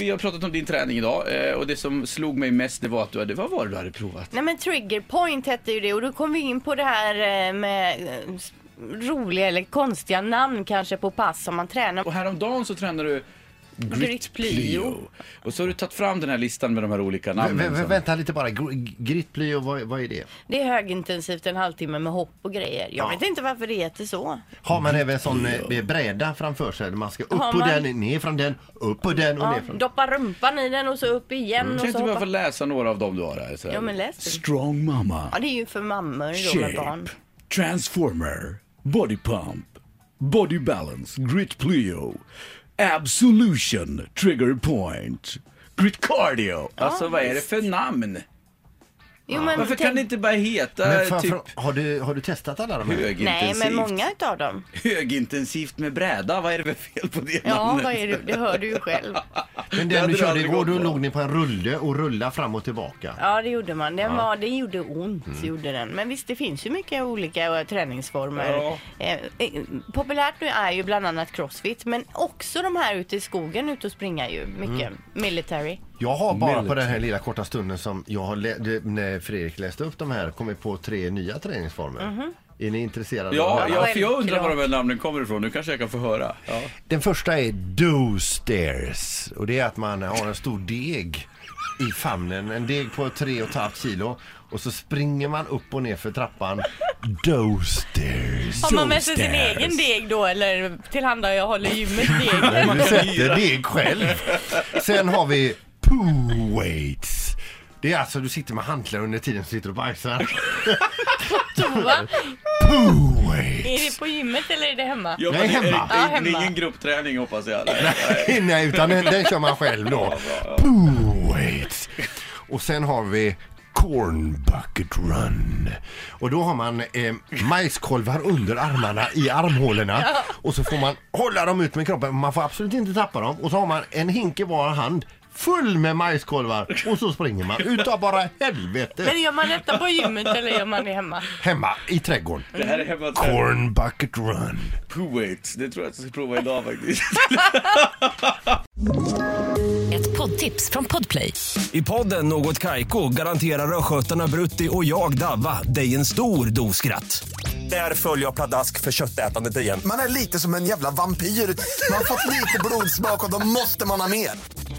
vi har pratat om din träning idag eh, och det som slog mig mest det var att du hade, vad var det du hade provat? Nej men trigger point hette ju det och då kom vi in på det här eh, med eh, s- roliga eller konstiga namn kanske på pass som man tränar. Och häromdagen så tränade du Grit Plyo. Och så har du tagit fram den här listan med de här olika Vä- namnen. vä- som- vänta lite bara, Gr- Gritbly och vad, vad är det? Det är högintensivt en halvtimme med hopp och grejer. Jag Ja. vet inte varför det heter så. Har man även sån eh, bräda framför sig? där Man ska upp Har på man- den, ner från den, upp på den och Ja, ner från den. doppa rumpan i den och så upp igen Kan och inte så du bara hoppa. få läsa några av dem du har här? Så här. Ja, men läs det. Strong Ja Mama, det är ju för mammor då med Shape, barn. Transformer, Body Pump, Body Balance, Grit Plyo, Absolution, Trigger Point, Grit Cardio. Alltså vad är det för namn? Jo, men Varför kan det inte bara Men heta fan, typ fan, har, du, har du testat alla de här? Nej högintensivt? men många utav dem. Högintensivt med bräda, vad är det för fel på det Ja namnet? vad är det? det hör du ju själv. Men Det den hade du du körde aldrig igår, gått då på. låg ni på en rulle och rulla fram och tillbaka. Ja det gjorde man. Den var, det gjorde ont Mm. gjorde den. Men visst det finns ju mycket olika eh, träningsformer. Ja. Eh, eh, populärt nu är ju bland annat crossfit men också de här ute i skogen ute och springa ju mycket. Mm. Military. Jag har bara på Military. den här lilla korta stunden som jag har lä- det- när Fredrik läste upp de här kommit på tre nya träningsformer. Mhm. Är ni intresserade av Ja, att höra? ja, för jag undrar var de här namnen kommer ifrån. Nu kanske jag kan få höra. Ja. Den första är do stairs och det är att man har en stor deg i famnen, en deg på tre och ett halvt kilo och så springer man upp och ner för trappan. Do stairs. Har man med sig sin Downstairs. egen deg då eller tillhanda jag håller gymmet deg? Men du sätter deg själv. Sen har vi poo weights. Det är alltså du sitter med hantlar under tiden som sitter och bajsar. Toa? Poo weights. Är det på gymmet eller är det hemma? Ja, Nej, men hemma. Är, Ja, är, det är hemma. ingen gruppträning hoppas jag. Nej, utan den, den kör man själv då. Poo weights. Och sen har vi Corn Bucket Run. Och då har man eh, majskolvar under armarna i armhålorna och så får man hålla dem ut med kroppen. Man får absolut inte tappa dem. Och så har man en hink i var hand full med majskolvar och så springer man utav bara helvete Men gör man detta på gymmet eller gör man det hemma? hemma i trädgården. Det här är hemma Corn Bucket Run. Kuwait. Det tror jag att jag ska prova idag faktiskt. Ett poddtips från Podplay. I podden Något Kaiko garanterar östgötarna Brutti och jag, Davva, dig en stor dos skratt. Där följer jag pladask för köttätandet igen. Man är lite som en jävla vampyr. Man har fått lite blodsmak och då måste man ha mer.